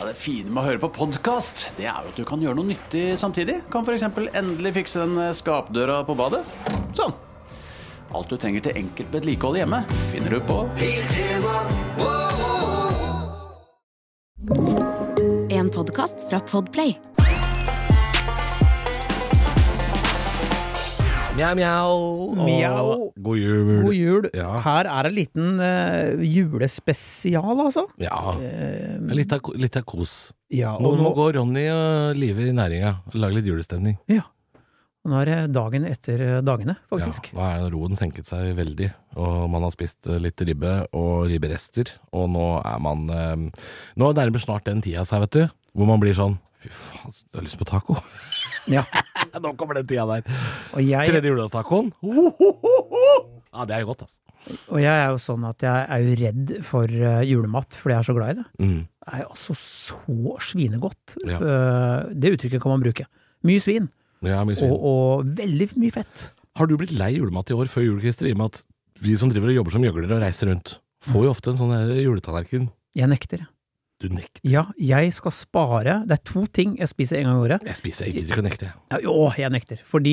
Ja, det fine med å høre på podkast, det er jo at du kan gjøre noe nyttig samtidig. Kan f.eks. endelig fikse den eh, skapdøra på badet. Sånn. Alt du trenger til enkelt vedlikehold hjemme, finner du på En podcast fra Podplay Mjau, mjau. Mjau. God jul. God jul. Ja. Her er en liten eh, julespesial, altså. Ja. Det er Litt av, ko- litt av kos. Ja, Nå Ehm. og må nå, gå Ronny og Live i næringa og lage litt julestemning. ja. nå er det dagen etter eh, dagene, Ja, faktisk. nå er roen senket seg veldig, og man har spist eh, litt ribbe og ribberester, og nå er man eh, Nå nærmer snart den tida seg, vet du, hvor man blir sånn Fy faen, jeg har lyst på taco. Ja. nå kommer den tida der. Og, jeg, Tredje juledags-tacoen. Ho, ho, ho, ho! Ja, det er jo godt, altså. og jeg er jo sånn at jeg er jo redd for eh, julemat, fordi jeg er så glad i det. Mm. Det er jo altså så svinegodt. Ja. Eh, det uttrykket kan man bruke. Mye svin, Ja, mye og, svin. og veldig mye fett. Har du blitt lei julemat i år før jul, Christer, i og med at vi som driver og jobber som gjøglere og reiser rundt, får jo ofte en sånn her juletallerken? Jeg nekter. Du nekter. Ja, jeg skal spare. Det er to ting jeg spiser en gang i året. Jeg spiser, jeg gidder ikke å nekte. jeg. Ja, Jo, jeg nekter. Fordi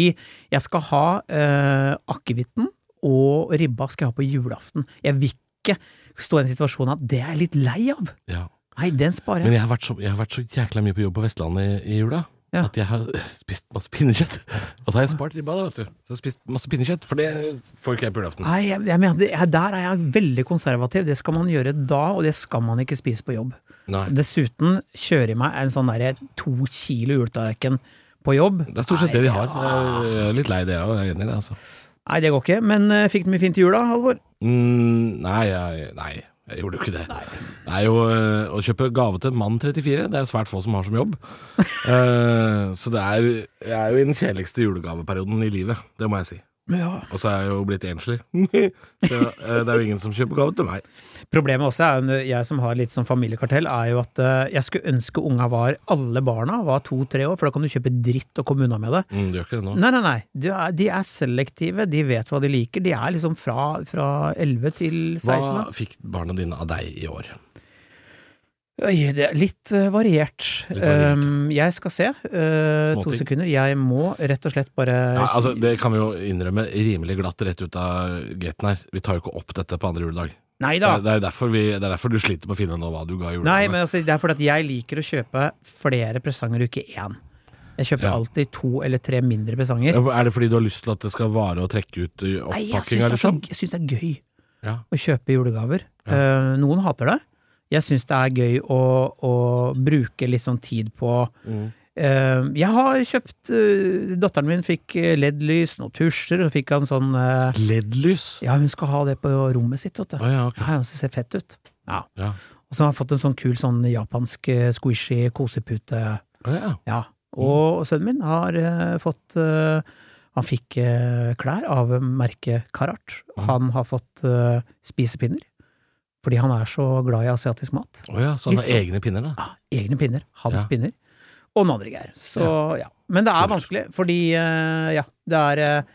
jeg skal ha eh, akevitten og ribba skal jeg ha på julaften. Jeg vil ikke stå i en situasjon at det er jeg litt lei av. Ja. Nei, den sparer Men jeg. jeg har, vært så, jeg har vært så jækla mye på jobb på Vestlandet i, i jula. Ja. At jeg har spist masse pinnekjøtt. Og så har jeg spart ribba, da, vet du. Så jeg har spist masse pinnekjøtt, for det får ikke jeg på julaften. Nei, jeg, jeg mener, det- jeg, der er jeg veldig konservativ. Det skal man gjøre da, og det skal man ikke spise på jobb. Nei. Dessuten kjører jeg meg en sånn derre to kilo juletallerken på jobb. Det er stort sett det de har. Jeg er litt lei det, og jeg er enig i det, altså. Nei, det går ikke. Men eh, fikk den mye fint i jula, Halvor? Mm, nei, jeg, nei, jeg gjorde jo ikke det. Det er jo øh, å kjøpe gave til mann 34, det er svært få som har som jobb. Eh, så det er, jeg er jo i den kjedeligste julegaveperioden i livet, det må jeg si. Ja. Og så er jeg jo blitt enslig. så eh, det er jo ingen som kjøper gave til meg. Problemet også er, jo, jeg som har litt sånn familiekartell, er jo at eh, jeg skulle ønske unga var alle barna var to-tre år, for da kan du kjøpe dritt og komme unna med det. Mm, du gjør ikke det nå? Nei, nei, nei. De er, de er selektive, de vet hva de liker. De er liksom fra, fra 11 til 16. Hva da. fikk barna dine av deg i år? Oi, det er litt eh, variert. Litt variert. Um, jeg skal se. eh, to Småting. sekunder. Jeg må rett og slett bare Nei, altså, det kan vi jo innrømme rimelig glatt rett ut av gaten her. Vi tar jo ikke opp dette på andre juledag. Nei Så da! det er jo derfor, vi, det er derfor du sliter med å finne nå hva du ga i Nei, julegave. men altså, det er fordi at jeg liker å kjøpe flere presanger i uke én. Jeg kjøper Ja. alltid to eller tre mindre presanger. Ja, Er det fordi du har lyst til at det skal vare og trekke ut eh, ø, Eh. Nei, jeg syns oppakkinga, det, er så- liksom? jeg syns det er gøy Ja. å kjøpe julegaver. Eh, noen hater det. Jeg syns det er gøy å, å bruke litt sånn tid på Mm. Eh, Jeg har kjøpt eh, Datteren min fikk eh, LED-lys, noen tusjer, og fikk han sånn eh, LED-lys? Ja, hun skal ha det på rommet sitt, vet du. Å ja, ok. Ja, det ser fett ut. Ja. Ja. Og så har han fått en sånn kul sånn japansk eh, squishy kosepute. Å ja. Ja. Mm. Og sønnen min har eh, fått eh, Han fikk eh, klær av merket Karat. Mm. Han har fått eh, spisepinner, fordi han er så glad i asiatisk mat. Å ja, så han Litt har sånn. egne pinner, da? Ah, egne pinner. Hans Ja. pinner. Og noen andre greier. Så ja. Men det er vanskelig, fordi eh, ja, det er eh,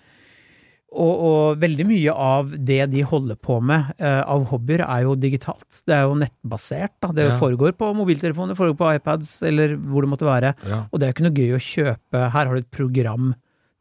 og, og veldig mye av det de holder på med eh, av hobbyer, er jo digitalt. Det er jo nettbasert. Da. Det Ja. foregår på mobiltelefoner, foregår på iPads, eller hvor det måtte være. Ja. Og det er jo ikke noe gøy å kjøpe. Her har du et program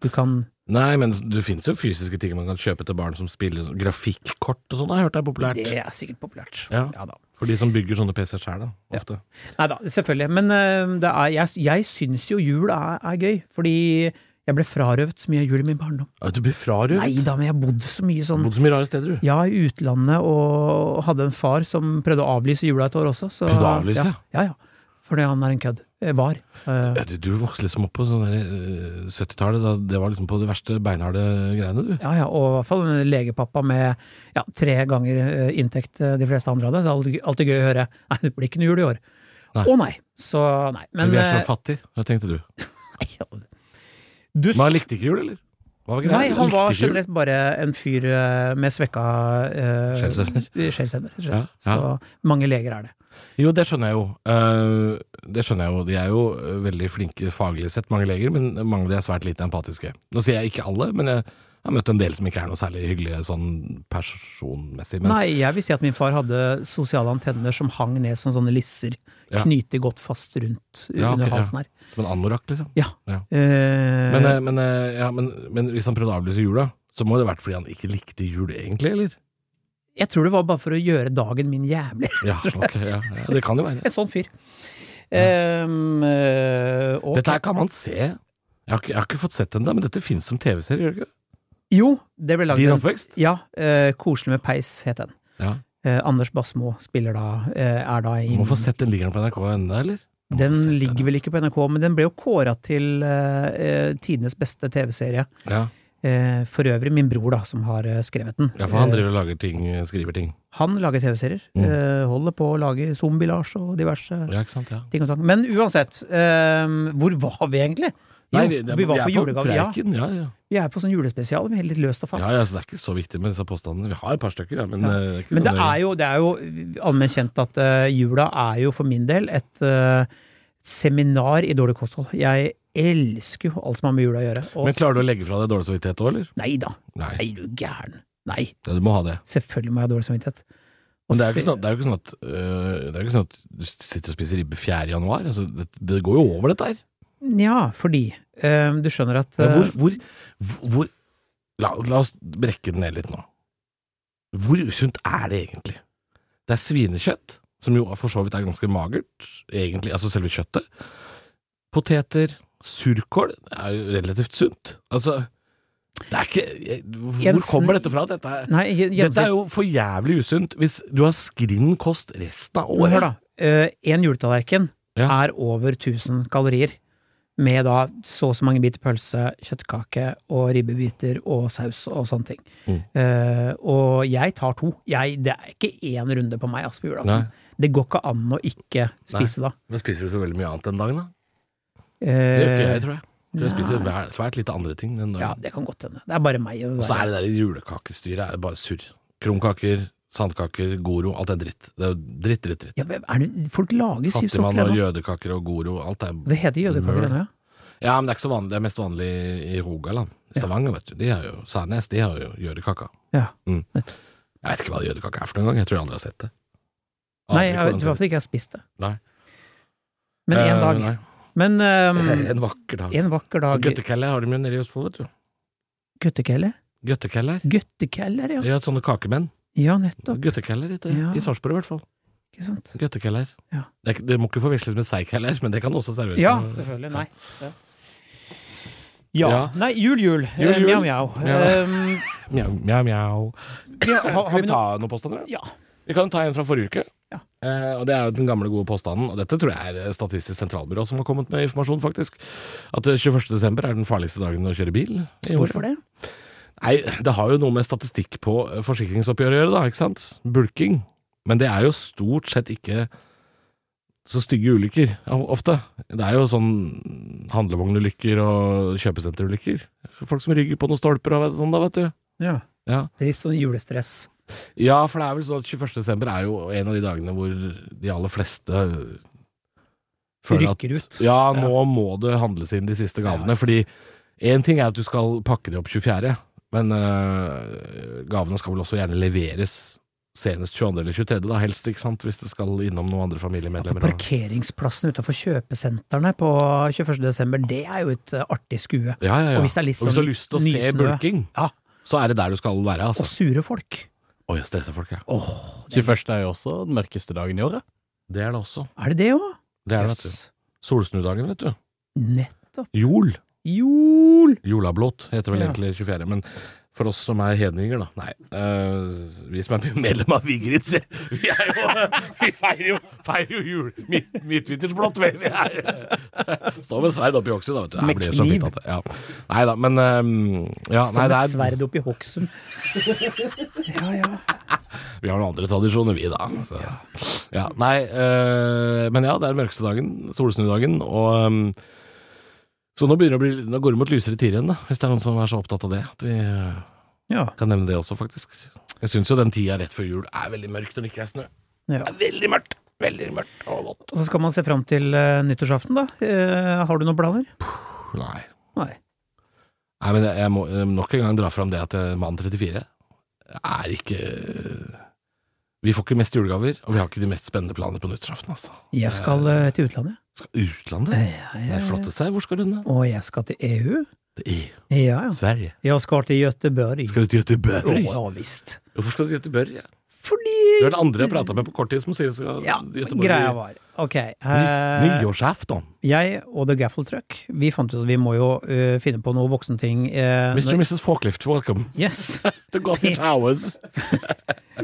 du kan Nei, men det finnes jo fysiske ting man kan kjøpe til barn som spiller sånn grafikkort og sånn, har jeg hørt det er populært. Det er sikkert populært. Ja. Ja da. For de som bygger sånne PC-er sjøl, da. Ofte. Nei da, selvfølgelig. Men eh, det er, jeg, jeg syns jo jul er, er gøy, fordi jeg ble frarøvet så mye av jul i min barndom. Ja. Du blir frarøvet. Nei da, men jeg bodde så mye Du har sånn Bodd så mye rare steder, du. ja, i utlandet, og hadde en far som prøvde å avlyse jula et år også. Så, Prøvde å avlyse, ja? ja? Ja, ja. Fordi han er en kødd. Eh, Var. Eh, Ja, du, du vokste liksom opp på sånn der, ø, 70-tallet, da det var liksom på de verste beinharde greiene, du. Ja, ja, og i hvert fall en legepappa med ja, tre ganger eh, inntekt eh, de fleste andre hadde. Så alltid, alltid gøy å høre. Nei, det blir ikke noe jul i år. Nei. Å nei. Så nei. Men, vi er eh, så fattige, hva tenkte du. dust. Men han likte ikke jul, eller? Hva var greia? Nei, han Likte var ikke jul? generelt bare en fyr eh, med svekka eh, Skjellsevner. skjellsevner, rett og slett. Ja, ja. Så mange leger er det. Jo, det skjønner jeg jo. Eh, det skjønner jeg jo. De er jo eh, veldig flinke faglig sett, mange leger, men mange av de er svært lite empatiske. Nå sier jeg ikke alle, men jeg, Jeg har møtt en del som ikke er noe særlig hyggelige sånn personmessig. Men Nei, jeg vil si at min far hadde sosiale antenner som hang ned som sånne lisser, Ja. knytet godt fast rundt Ja, under ok, ja. halsen her. som en anorakk, liksom. Ja. Ja. Eh, Men, eh, men, eh, ja, men, men hvis han prøvde å avlyse jula, så må det ha vært fordi han ikke likte jul egentlig, eller? jeg tror det var bare for å gjøre dagen min jævlig. Ja, ok, ja, ja det kan jo være. En sånn fyr. Ehm, eh, og- Dette her kan man se. Jeg har ikke, jeg har ikke fått sett den da, men dette finnes som TV-serie, gjør det ikke? det? Jo, det ble laget Din en- oppvekst? Ja. eh, 'Koselig med peis' het den. Ja. Eh, Anders Bassmo spiller da, eh, er da i Man må få sett den ligger den på NRK ennå, eller? Jeg må få sett Den ligger vel altså. ikke på NRK, men den ble jo kåra til eh, eh, tidenes beste TV-serie. Ja. Eh, for øvrig min bror, da, som har eh, skrevet den. ja, for han driver og lager ting, skriver ting. Eh, han lager TV-serier. Mm. Eh, holder på å lage Zombie-Lars og diverse Ja, ikke sant? Ja. ting og tang. Men uansett, eh, hvor var vi egentlig? Jo, Nei, det- vi var på er julegave. Ja, Preken, ja, ja. vi er på sånn julespesial, vi er litt løst og Ja, fast. ja, så det er ikke så viktig med disse påstandene. Vi har et par stykker, ja, men, Ja. eh, det er ikke Men det nødvendig. er jo, det er jo allment kjent at eh, jula er jo for min del et eh, seminar i dårlig kosthold. Jeg elsker jo alt som har med jula å gjøre. Og Men klarer du å legge fra deg dårlig samvittighet òg, eller? Nei da, Nei, nei du gæren. Nei, Ja, du må ha det. selvfølgelig må jeg ha dårlig samvittighet. Men det er jo Og se- ikke sånn at, det er jo ikke sånn at, øh, det er jo ikke sånn at du sitter og spiser ribbe 4. januar. Altså, det, det går jo over, dette her. Ja, fordi eh, du skjønner at Men eh, hvor, hvor, hvor la, la oss brekke den ned litt nå. Hvor usunt er det egentlig? Det er svinekjøtt, som jo for så vidt er ganske magert, egentlig, altså selve kjøttet. Poteter, surkål det er jo relativt sunt. Altså, det er ikke jeg- Hvor Jensen- kommer dette fra? Dette er, eh, Nei, dette er jo for jævlig usunt hvis du har skrinn kost resten av Hør, året. da. Én juletallerken Ja. er over 1000 kalorier. Med da så og så mange biter pølse, kjøttkake og ribbebiter og saus og sånne ting. Mm. Eh, og jeg tar to. Jeg, det er ikke én runde på meg altså, på Nei. julaften. Det går ikke an å ikke spise da. Men spiser du så veldig mye annet den dagen, da? Det gjør ikke Eh, jeg, tror jeg. Jeg tror jeg spiser nei. hver- svært lite andre ting den dagen. Eh, ja, det kan godt hende. Det er bare meg. og Og Det så er det der. der julekakestyret er bare surr. Krumkaker, sandkaker, goro, alt er dritt. Det er jo dritt, dritt, dritt. Ja, men er det, folk lager syv Fattigmann sorter og ennå. jødekaker og goro, alt er Det heter jødekaker Møl. ennå, ja. Ja, men det er ikke så vanlig. Det er mest vanlig i Rogaland. I Stavanger, vet du. De har jo Sandnes, de har jo jødekaka. ja. Mm. Nettopp. Jeg vet ikke hva jødekake er for noen gang. Jeg tror jeg aldri har sett det. Nei, Aner ikke jeg hvordan vet i det hvert fall ikke jeg har spist det. Nei. Men ser én ut. dag. Eh, Men nei. ehm, En vakker dag. en vakker dag Gøttekelle har de jo nede i Østfold, vet du. Guttekelle? Gøttekeller. Guttekeller, ja. Ja, sånne kakemenn. Ja, nettopp. Gøttekeller heter det. Ja. I Sarpsborg, i hvert fall. Ikke sant? Gøttekeller. Ja. Det, er ikke- det må ikke forveksles med seigkeller, men det kan også serveres. Ja, med- selvfølgelig. Nei. Ja. Ja. Nei, jul, jul. Jul, Eh, jul. Mjau, mjau. Ja. Ehm, Mjau, mjau, mjau. ja, har- har Skal vi noe- ta noen påstander? da? Ja. Vi kan jo ta en fra forrige uke. Ja. Eh, og Det er jo den gamle, gode påstanden, og dette tror jeg er Statistisk sentralbyrå som har kommet med informasjon, faktisk. At 21.12. er den farligste dagen å kjøre bil. i år. Hvorfor det? Nei, det har jo noe med statistikk på eh, forsikringsoppgjør å gjøre, da, ikke sant? Bulking. Men det er jo stort sett ikke så stygge ulykker, o- ofte. Det er jo sånn handlevognulykker og kjøpesenterulykker. Folk som rygger på noen stolper og vet- sånn, da, vet du. Ja. Ja. Det er Litt sånn julestress. ja, for det er vel sånn at 21. desember er jo en av de dagene hvor de aller fleste føler at Rykker ut. ja, nå må det handles inn de siste gavene. Fordi én ting er at du skal pakke de opp 24., men øh, gavene skal vel også gjerne leveres senest 22. eller 23., da helst, ikke sant? Hvis det skal innom noen andre For familiemedlemmer. parkeringsplassen utafor kjøpesentrene på 21. desember, det er jo et eh, artig skue. ja, ja, ja. Og hvis det er litt Og hvis du har sånn lyst til å se nysnø. bulking, Ja. så er det der du skal være, Og altså. sure folk. Oi, jeg stresser folk, jeg. 21. er jo også den mørkeste dagen i året. Det er det også. Er det det òg? Det er det, vet du. Solsnudagen, vet du. Nettopp. Jol. Jol! Jolablåt heter vel Ja. egentlig 24. Men for oss som er hedninger, da. Nei. eh, vi som er medlem av Vigrids, vi er jo Vi feirer jo, feirer jo jul midt, midtvintersblått, vel. Vi er Står med sverd oppi oksen, da, vet du. Med blir det så kniv. fint at det- Ja. Nei da, men eh, ja, Står nei, med det er, sverd oppi Hokksund. Ja, ja. Vi har noen andre tradisjoner, vi, da. Så. Ja, nei, eh, men ja, det er den mørkeste dagen. Solsnudagen. Og eh, så nå, begynner det å bli, nå går det mot lysere tider igjen, da, hvis det er noen som er så opptatt av det. At vi, eh, Ja. Kan nevne det også, faktisk. Jeg syns jo den tida rett før jul er veldig mørkt når det ikke er snø. ja. Det er veldig mørkt. Veldig mørkt og vått. Og så skal man se fram til eh, nyttårsaften, da. Eh, har du noen planer? Nei. Nei. Nei, men jeg må eh, nok en gang dra fram det at eh, mann 34 er ikke eh, Vi får ikke mest julegaver, og vi har ikke de mest spennende planene på nyttårsaften, altså. Jeg skal eh, til utlandet. Skal Eh, utlandet? Det er flotte seg. Hvor skal du, da? Og jeg skal til EU. Til EU. Ja, ja. Sverige. Jeg skal til Göteborg. Skal du til Å, Göteborg? ja visst. Hvorfor skal du til Göteborg? Ja? Fordi Du er den andre jeg prata med på kort tid som sier du skal Ja, til Göteborg. greia var Ok. eh, Ny- Nyårsaften. jeg og The Gaffel Truck, vi fant ut at vi må jo eh, finne på noe voksenting. eh, Mr. når- and Mrs. Forklift, welcome Yes. to Gotham Towers.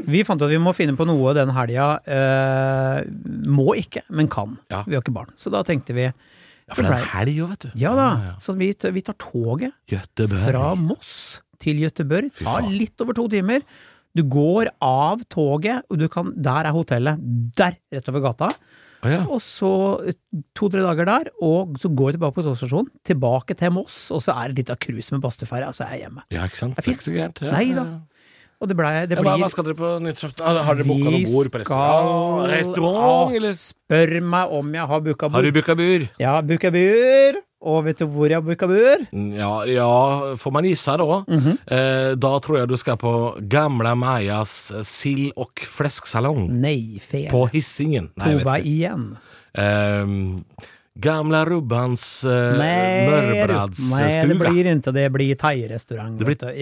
Vi fant ut at vi må finne på noe den helga. eh, må ikke, men kan. Ja. Vi har ikke barn. Så da tenkte vi Ja, for det er en helg òg, vet du. Ja da. Så vi, t- vi tar toget Göteborg. fra Moss til Gøteborg. Ta faen. litt over to timer. Du går av toget, og du kan Der er hotellet. Der, rett over gata. Å, ja. Og så eh, to-tre dager der, og så går jeg tilbake på togstasjonen, tilbake til Moss, og så er det litt av cruise med Bastefeira, og så er jeg hjemme. ja, ikke sant? Det Det er er fint. ikke så gærent. Ja, Nei ja, da. ja. Og det, ble, det Ja, hva, hva blir skal dere på nyttårsaften? Har, har dere booka Vi noe bord på restaurant? skal- Restaurant, eller? Spør meg om jeg har booka bord. booka bur? Jeg har booka bur, og vet du hvor jeg har booka bur? Ja, ja, får man gissa da. Mhm. eh, da tror jeg du skal på Gamla Majas sild- og flesk-salong Nei, fel. på Hissingen. Nei, jeg Tova vet ikke. igjen. Ehm, gamla Rubbans eh, nei, det Mørbradsstuga. blir ikke det. Det blir thai-restaurant. Det blir vet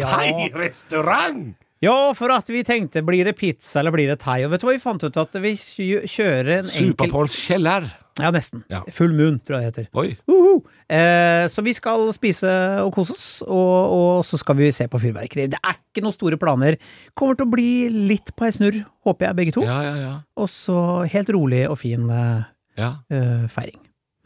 du. thai-restaurant! Ja, for at vi tenkte, blir det pizza eller blir det thai? Og vet du hva vi fant ut? At vi kjø- kjører en enkel Superporns kjeller. Ja, nesten. Ja. Full moon, tror jeg det heter. Oi. Uhu. Eh, så vi skal spise og kose oss, og, og så skal vi se på fyrverkeri. Det er ikke noen store planer. Kommer til å bli litt på ei snurr, håper jeg, begge to. Ja, ja, ja. Og så helt rolig og fin eh, ja. eh, feiring.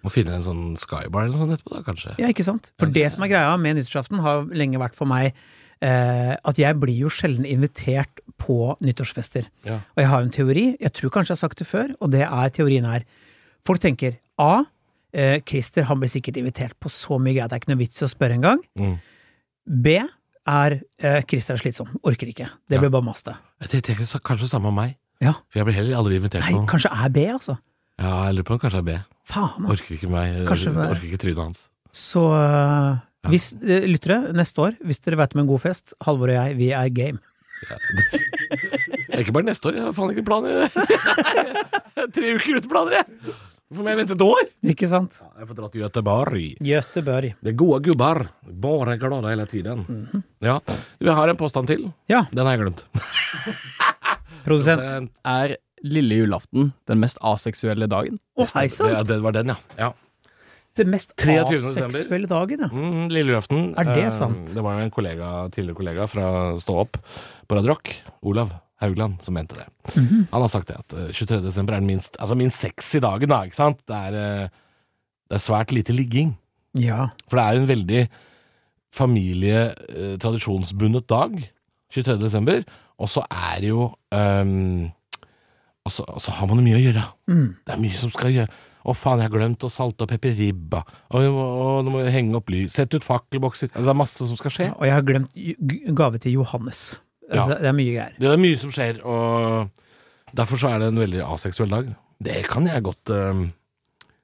Må finne en sånn skybar eller noe sånt etterpå, da, kanskje. Ja, ikke sant? For det som er greia med nyttårsaften, har lenge vært for meg eh, at jeg blir jo sjelden invitert på nyttårsfester. Ja. Og jeg har en teori, jeg tror kanskje jeg har sagt det før, og det er teorien her. Folk tenker A. Eh, Christer han blir sikkert invitert på så mye greier, det er ikke noe vits i å spørre engang. Mm. B er eh, Christer er slitsom, orker ikke. Det Ja. blir bare maste. Jeg tenkte jeg sa- kanskje det samme om meg. Ja. For jeg blir heller aldri invitert Nei, på noe. kanskje er B, altså. Ja, jeg lurer på om kanskje det er B. Faen, altså. Orker ikke meg. Kanskje det er- Orker ikke trynet hans. Så eh, hvis, eh, lyttere, neste år, hvis dere vet om en god fest, Halvor og jeg, vi er game. Det er ikke bare neste år, jeg har faen ikke planer. Tre uker uten planer, jeg! Hvorfor må jeg vente et år? Ikke sant? Ja, jeg får dra til Göteborg. Göteborg. Det er gode gubbar. Bare glade hele tiden. Ja. Vi har en påstand til. Ja, Mhm. Den har jeg glemt. produsent. Er lille julaften den mest aseksuelle dagen? Å, hei Det, sann! det var den, ja. ja. Den mest 23. aseksuelle dagen, ja. Mm, lille julaften. Er det Eh, sant? Det var jo en kollega, tidligere kollega fra Stå opp på Radio Rock, Olav Haugland, som mente det. Han har sagt det, at eh, 23. desember er den minst, altså minst sexy dagen, da, ikke sant? Det er, eh, det er svært lite ligging. Ja. For det er en veldig familietradisjonsbundet dag, 23. desember, og så er det jo ehm, og, så, og så har man jo mye å gjøre. Mm. Det er mye som skal gjøre. Å faen, jeg har glemt å salte og pepre ribba. Og, vi må- og nå må jeg henge opp lys. Sette ut fakkelbokser. Altså, det er masse som skal skje. Og jeg har glemt ju- g- gave til Johannes. Ja. Altså, Det er mye greier. Det er mye som skjer, og derfor så er det en veldig aseksuell dag. Det kan jeg godt eh,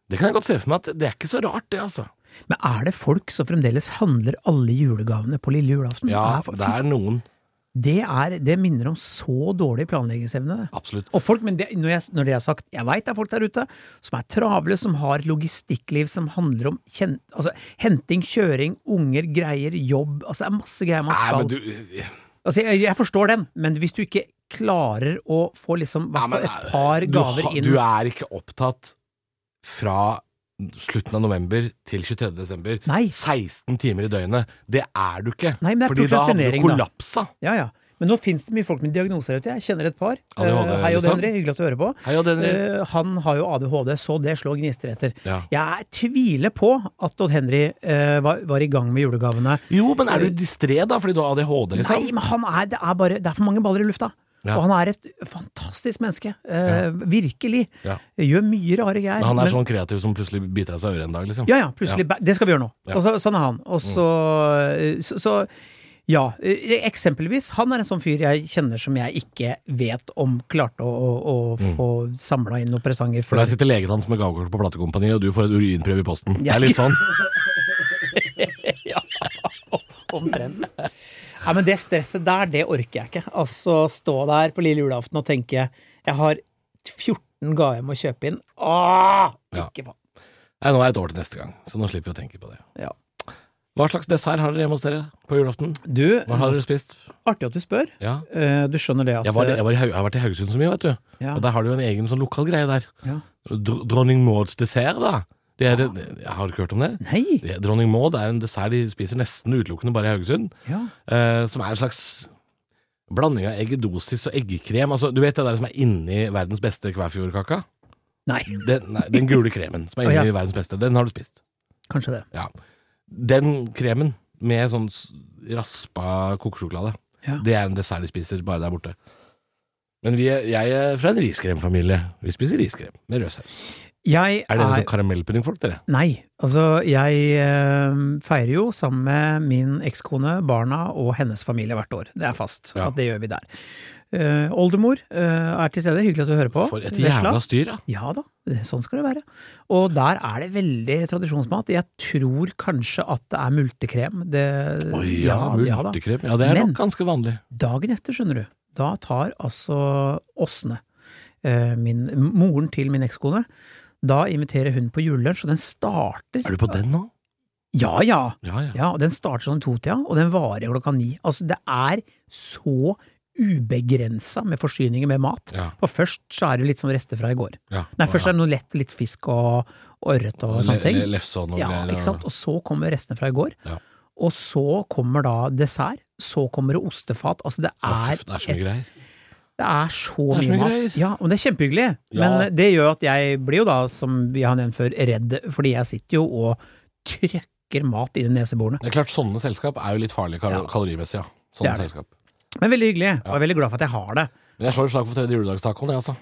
Det kan jeg godt se for meg at det er ikke så rart, det, altså. Men er det folk som fremdeles handler alle julegavene på lille julaften? Ja, Er- fy det er faen, noen. det, er, det minner om så dårlig planleggingsevne. det. Absolutt. Og folk, men det, når, jeg, når det er sagt, jeg veit det er folk der ute som er travle, som har et logistikkliv som handler om kjen, altså, henting, kjøring, unger, greier, jobb altså Det er masse greier man Nei, skal men du eh, Altså, jeg, jeg forstår den, men hvis du ikke klarer å få liksom i Ja, hvert men, eh, fall et par du, gaver ha- inn du er ikke opptatt fra slutten av november til 23. desember. Nei. 16 timer i døgnet. Det er du ikke. Nei, men det er Fordi da hadde du prokrastinering, da. kollapsa. Ja, ja. Men nå fins det mye folk med diagnoser ute. Jeg kjenner et par. ADHD, Eh, Hei, Odd liksom. Henry, hyggelig at du hører på. Hei, Odd Henry. Eh, han har jo ADHD, så det slår gnister etter. Ja. Jeg tviler på at Odd Henry eh, var, var i gang med julegavene. Jo, men er du distré da, fordi du har ADHD, liksom? eh, Nei, men han er, det, er bare, det er for mange baller i lufta. Ja. Og han er et fantastisk menneske. Eh, Virkelig. Ja. Gjør mye rare greier. Men han er men- sånn kreativ som plutselig biter av seg øret en dag, liksom. Ja, ja, plutselig. ba- Det skal vi gjøre nå. Ja. Mm. Og så, sånn er han. Og så, eh, så, så ja, eh, eksempelvis, han er en sånn fyr jeg kjenner som jeg ikke vet om klarte å, å, å få samla inn noen presanger Mm. For før. der sitter legen hans med gavekort på sånn. platekompaniet, og du får en urinprøve i posten. Det Ja. er litt sånn. Omtrent. Nei, men det stresset der, det orker jeg ikke. Altså stå der på lille julaften og tenke jeg har 14 gaver jeg må kjøpe inn. Åh! Ja. Ikke faen. Nei, nå er det et år til neste gang, så nå slipper vi å tenke på det. Ja. Hva slags dessert har dere hjemme hos dere på julaften? Du, Hva har dere spist? artig at du spør. Ja. Eh, Du skjønner det at Jeg, var, jeg, var i, Haug- jeg har vært i Haugesund så mye, vet du. Ja. Og der har de jo en egen sånn lokal greie der. Ja. Dr Dronning Mauds dessert, da. Det er, jeg har du ikke hørt om det? Nei! Det- Dronning Maud er en dessert de spiser nesten utelukkende bare i Haugesund. Ja. eh, som er en slags blanding av eggedosis og eggekrem. Altså, du vet det der som er inni verdens beste kvæfjordkaka? Nei, Den, nei, den gule kremen som er Å, inni ja. verdens beste. Den har du spist. kanskje det. Ja. Den kremen med sånn s- raspa kokesjokolade, Ja. det er en dessert de spiser bare der borte. Men vi er, jeg er fra en riskremfamilie. Vi spiser riskrem med rød saus. Jeg Er dere er sånn karamellpuddingfolk, dere? Nei. Altså, jeg eh, feirer jo sammen med min ekskone, barna og hennes familie hvert år. Det er fast Ja. at det gjør vi der. Eh, oldemor eh, er til stede, hyggelig at du hører på. For et Vesla. jævla styr, da. Ja da, det- sånn skal det være. Og der er det veldig tradisjonsmat. Jeg tror kanskje at det er multekrem. Det, Å ja, ja da. multekrem. Ja, det er Men- nok ganske vanlig. Dagen etter, skjønner du, da tar altså Åsne, eh, min, moren til min ekskone, da inviterer hun på julelunsj, og den starter Er du på den nå? Ja ja! Ja, ja. Ja, og Den starter sånn i totida, og den varer klokka ni. Altså, det er så ubegrensa med forsyninger med mat. Ja. For først så er det jo litt som rester fra i går. Ja. Nei, først er det noe lett, litt fisk og og ørret og sånne ting. Le- le- Lefse og noe Ja, greier. ikke sant? og- Og så kommer restene fra i går. Ja. Og så kommer da dessert. Så kommer det ostefat. Altså, det Å, fy, er, Det er så mye et, greier. det Det er så er så mye mye greier. mat. Ja, men det er kjempehyggelig. Ja. Men det gjør at jeg blir jo da, som vi har nevnt før, redd, fordi jeg sitter jo og trøkker mat inn i neseborene. Det er klart, sånne selskap er jo litt farlige kal Ja. kalorimessig, ja. Sånne Det er det. selskap. Men veldig hyggelig, og jeg er veldig glad for at jeg har det. Men jeg slår et slag for tredje juledagstacoen, jeg, altså.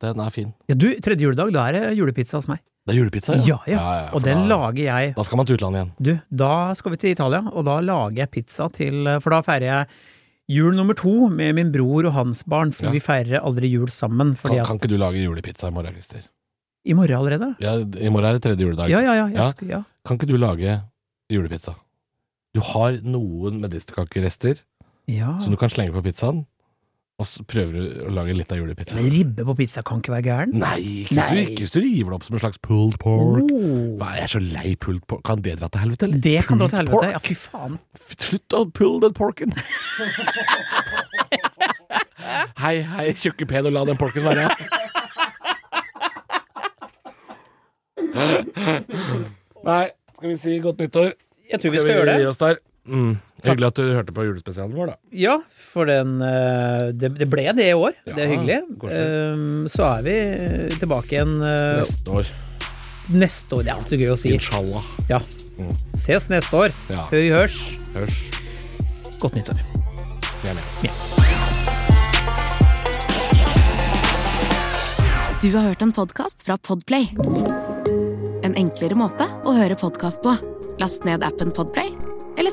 Den er fin. Ja, du, tredje juledag, da er det julepizza hos meg. Det er julepizza, Ja, ja. for og den da- lager jeg Da skal man til utlandet igjen. Du, da skal vi til Italia, og da lager jeg pizza til For da feirer jeg jul nummer to med min bror og hans barn, for Ja. vi feirer aldri jul sammen. Fordi Kan, at kan ikke du lage julepizza i morgen, Christer? I morgen allerede? Ja, I morgen er det tredje juledag. Ja, ja, ja. Jeg Ja. skal, ja. Kan ikke du lage julepizza? Du har noen medisterkakerester ja. som du kan slenge på pizzaen, og så prøver du å lage litt av julepizza. Men Ribbe på pizza kan ikke være gæren. Nei, ikke, Nei. Hvis, du, ikke hvis du river det opp som en slags pulled pork. Oh, Hva, jeg er så lei pulled pork. Kan det dra til helvete, eller? det kan dra til Pulled helvete. Ja, pork. fy faen. Slutt å pull den porken. hei, hei, tjukke pedo, la den porken være. Nei, skal vi si godt nyttår? Jeg tror vi skal gjøre gi det. oss der? Mm. Hyggelig at du hørte på julespesialen vår, da. Ja, for den eh, Det, det ble det i år. Det er Ja, hyggelig. koselig. Um, Så er vi tilbake igjen eh, Neste år. neste år. Det er alltid gøy å si. Inshallah. Ja. Mm. Ses neste år. Ja. Høy hørs. Hørs. Godt nyttår. Vi er med. Du har hørt en podcast fra Podplay. En enklere måte å høre podcast på. Last ned appen Podplay, eller